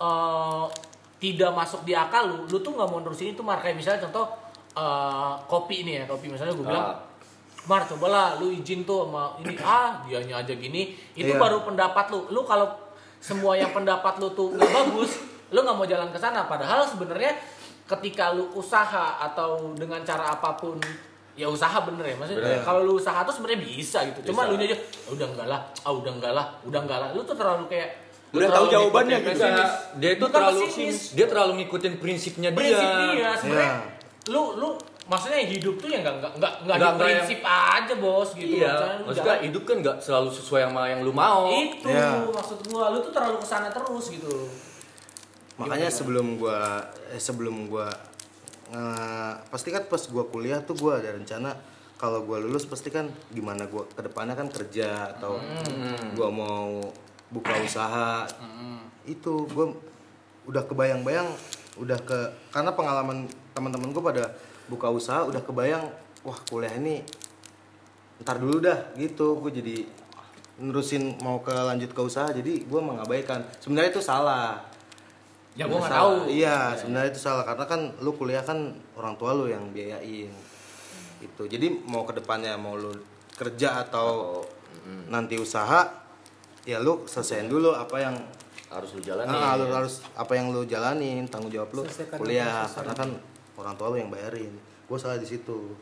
eh, tidak masuk di akal lu, lu tuh nggak mau nerusin itu Mar. Kayak misalnya contoh eh, kopi nih ya, kopi misalnya gue bilang Ah. Mar cobalah lu izin tuh sama ini ah dianya aja gini itu Iya. baru pendapat lu lu kalau semua yang pendapat lu tuh nggak bagus lu nggak mau jalan ke sana padahal sebenarnya ketika lu usaha atau dengan cara apapun ya usaha bener ya maksudnya kalau lu usaha tuh sebenarnya bisa gitu cuma lu aja "Ah, udah enggak lah ah udah enggak lah udah enggak lah lu tuh terlalu kayak lu Udah tahu terlalu jawabannya ngikutin gitu. pesimis. dia itu Bukan terlalu pesimis. dia terlalu ngikutin prinsipnya dia. prinsip dia sebenarnya Iya. lu lu maksudnya hidup tuh ya nggak nggak nggak nggak Nggak- ada nggak prinsip aja bos gitu Iya, Misalnya lu maksudnya jalan- hidup kan nggak selalu sesuai sama yang lu mau. itu Iya. maksud gua lu tuh terlalu kesana terus gitu makanya sebelum gua eh, sebelum gua eh, pasti kan pas gua kuliah tuh gua ada rencana kalau gua lulus pasti kan gimana gua kedepannya kan kerja atau gua mau buka usaha itu gua udah kebayang-bayang udah ke karena pengalaman teman-teman gua pada buka usaha udah kebayang wah kuliah ini ntar dulu dah gitu gue jadi nerusin mau ke lanjut ke usaha jadi gue mengabaikan sebenarnya itu salah ya gua nggak tahu Salah. Iya, sebenarnya itu salah karena kan lu kuliah kan orang tua lu yang biayain. Itu. Jadi mau ke depannya mau lu kerja atau nanti usaha ya lu selesaiin dulu apa yang Harus lu jalani. ah, lu harus apa yang lu jalanin, tanggung jawab lu Selesaikan kuliah dulu, selesaikan. karena kan orang tua lu yang bayarin. Gue salah di situ.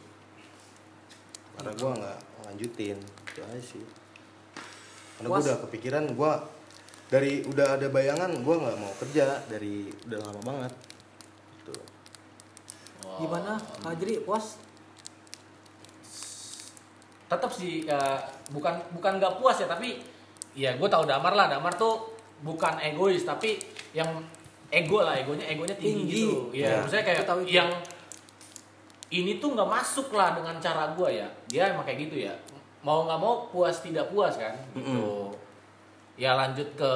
Karena gue nggak lanjutin. Itu aja sih. Karena gue udah kepikiran gue dari udah ada bayangan gue nggak mau kerja dari udah lama banget. Gitu. Gimana? Kak Jri, puas? tetap sih eh, bukan bukan nggak puas ya tapi ya gue tahu damar lah damar tuh bukan egois tapi yang ego lah egonya egonya Tinggi. tinggi, Iya. gitu ya Ya. maksudnya kayak Gua tahu itu. yang ini tuh nggak masuk lah dengan cara gue ya dia emang kayak gitu ya mau nggak mau puas tidak puas kan gitu ya lanjut ke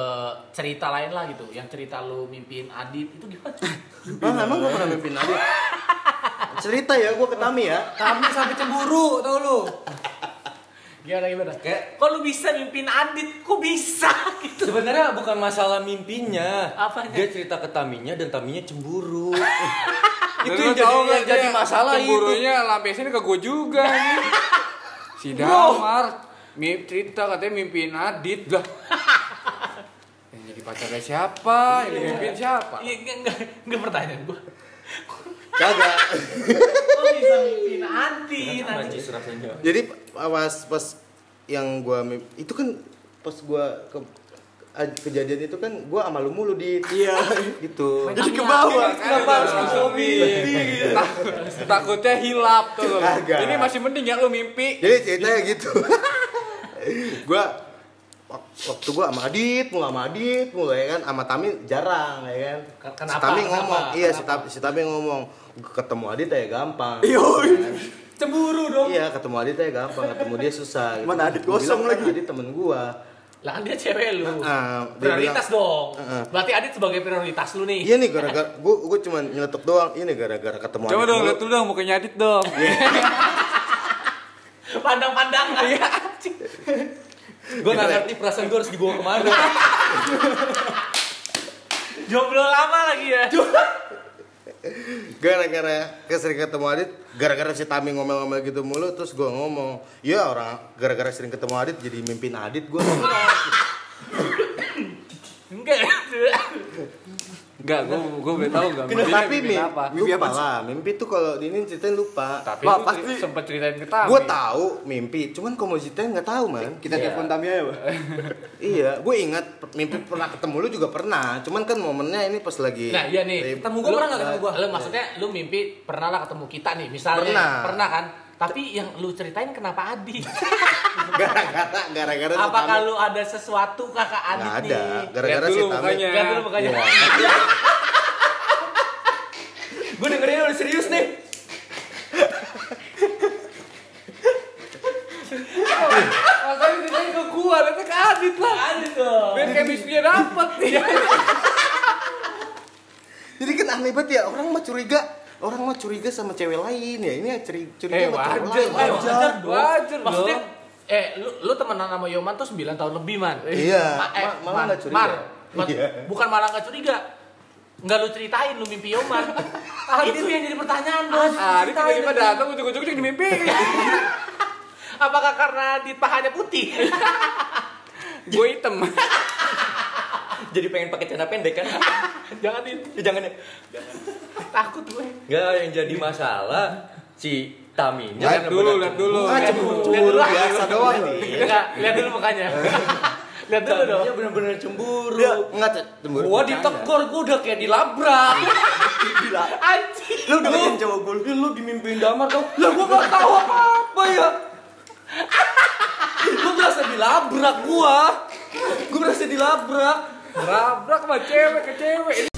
cerita lain lah gitu yang cerita lu mimpiin adit itu gimana Bang, emang gue pernah mimpin adik? Cerita ya, gue ke Tami ya. Kamu sampai cemburu, tau lu. gimana gimana kayak kok lu bisa mimpiin adit kok bisa gitu Sebenarnya bukan masalah mimpinya. Apanya? Dia cerita ke taminya dan taminya cemburu. Itu yang jadi- yang jadi masalah itu. Cemburunya lampiasin ke gue juga nih. Si Damar mimpi cerita katanya mimpiin Adit lah. yang jadi pacarnya siapa? Yang mimpiin siapa? Iya, enggak, enggak, enggak pertanyaan gue. Kagak. Kok bisa mimpiin Adit? Najis rasanya. Jadi pas pas yang gue itu kan pas gue ke a- kejadian itu kan gue sama lu mulu di Iya. gitu. Jadi ke bawah. Kenapa harus ke mobil? Tak- Takutnya hilap tuh. Kagak. Ini masih mending ya lu mimpi. Jadi ceritanya gitu. gue waktu gue sama Adit, mulai sama Adit, mulai ya kan sama Tami jarang ya kan. Ken- kenapa? Si Tami Kenapa? ngomong, iya si Tami, si Tami ngomong ketemu Adit ya gampang. Iya. Cemburu dong. Iya, ketemu Adit ya gampang, ketemu dia susah. Gitu. Mana Adit Gua gosong bilang, lagi. Adit temen gua. Lah kan dia cewek lu. Ah, dia prioritas dong. Heeh. Berarti Adit sebagai prioritas lu nih. Iya nih gara-gara gua gua cuman nyeletuk doang. Ini gara-gara ketemu Coba Adit dong, mulu. lihat dulu dong mukanya Adit dong. Pandang-pandangan. Iya. Gue Iya. gak ngerti perasaan gue harus dibawa kemana. Jomblo lama lagi ya. Gara-gara kesering ketemu Adit, gara-gara si Tami ngomel-ngomel gitu mulu terus gua ngomong, "Ya orang gara-gara sering ketemu Adit jadi mimpin Adit gua." Enggak. Enggak, gue gue boleh tahu enggak mimpinya Tapi mimpi, mimpiin apa? mimpi apa lah? Mimpi tuh kalau di ini ceritain lupa. Tapi Wah, lu pasti. sempat ceritain ke Tami. Gue tahu mimpi, cuman kalau mau ceritain nggak tahu man. Kita telepon Tami aja, Pak. iya, gue ingat mimpi pernah ketemu lu juga pernah, cuman kan momennya ini pas lagi. Nah, iya nih. Ketemu gua Lu- pernah nggak ketemu gua? Lu maksudnya lu mimpi pernah lah ketemu kita nih misalnya. Pernah. kan? Tapi yang lu ceritain kenapa Adit? gara-gara gara-gara si Apakah Tami- lu ada sesuatu kakak nggak Adit ada, nih? gara-gara Lihat si dulu Tami. mukanya. Lihat dulu mukanya. Iya. Gue dengerin udah serius nih. Makanya ceritain ke gue, nanti ke Adit lah. Adit dong. Biar chemistry-nya dapet nih. Jadi kan aneh banget ya, orang mah curiga, orang mah curiga sama cewek lain ya. Ini curi- curiga Eh, sama cewek wajar, lain. wajar. Wajar dong. Maksudnya eh lu lu temenan sama Yoman tuh 9 tahun lebih, Man. Iya, Ma- eh, ma- malah Man, nggak curiga. Mar, Ma- Iya. bukan malah nggak curiga. Nggak lu ceritain lu mimpi Yoman. itu yang jadi pertanyaan, Bos. Adit Ceritain. tiba-tiba datang ujuk-ujuk dimimpiin. Apakah karena di pahanya putih? Gue hitam. jadi pengen pakai celana pendek kan? Eh, Jangan itu. Ya, Jangan ya. Takut gue. Enggak, yang jadi masalah si Taminya Lihat karena dulu, benar- lihat dulu. Ah, cemburu biasa doang nih. Enggak, lihat dulu mukanya. lihat dulu dong. Taminya benar-benar cemburu. Dia enggak cemburu. Gua bercanda. ditekor, gua udah kayak dilabrak. Gila. Anjing. Lu dengerin cowok gue lu. Lu dimimpiin damar dong. Lah gua enggak tahu apa-apa ya. gua berasa dilabrak gua. Gua berasa dilabrak. Labrak sama cewek ke cewek. Ini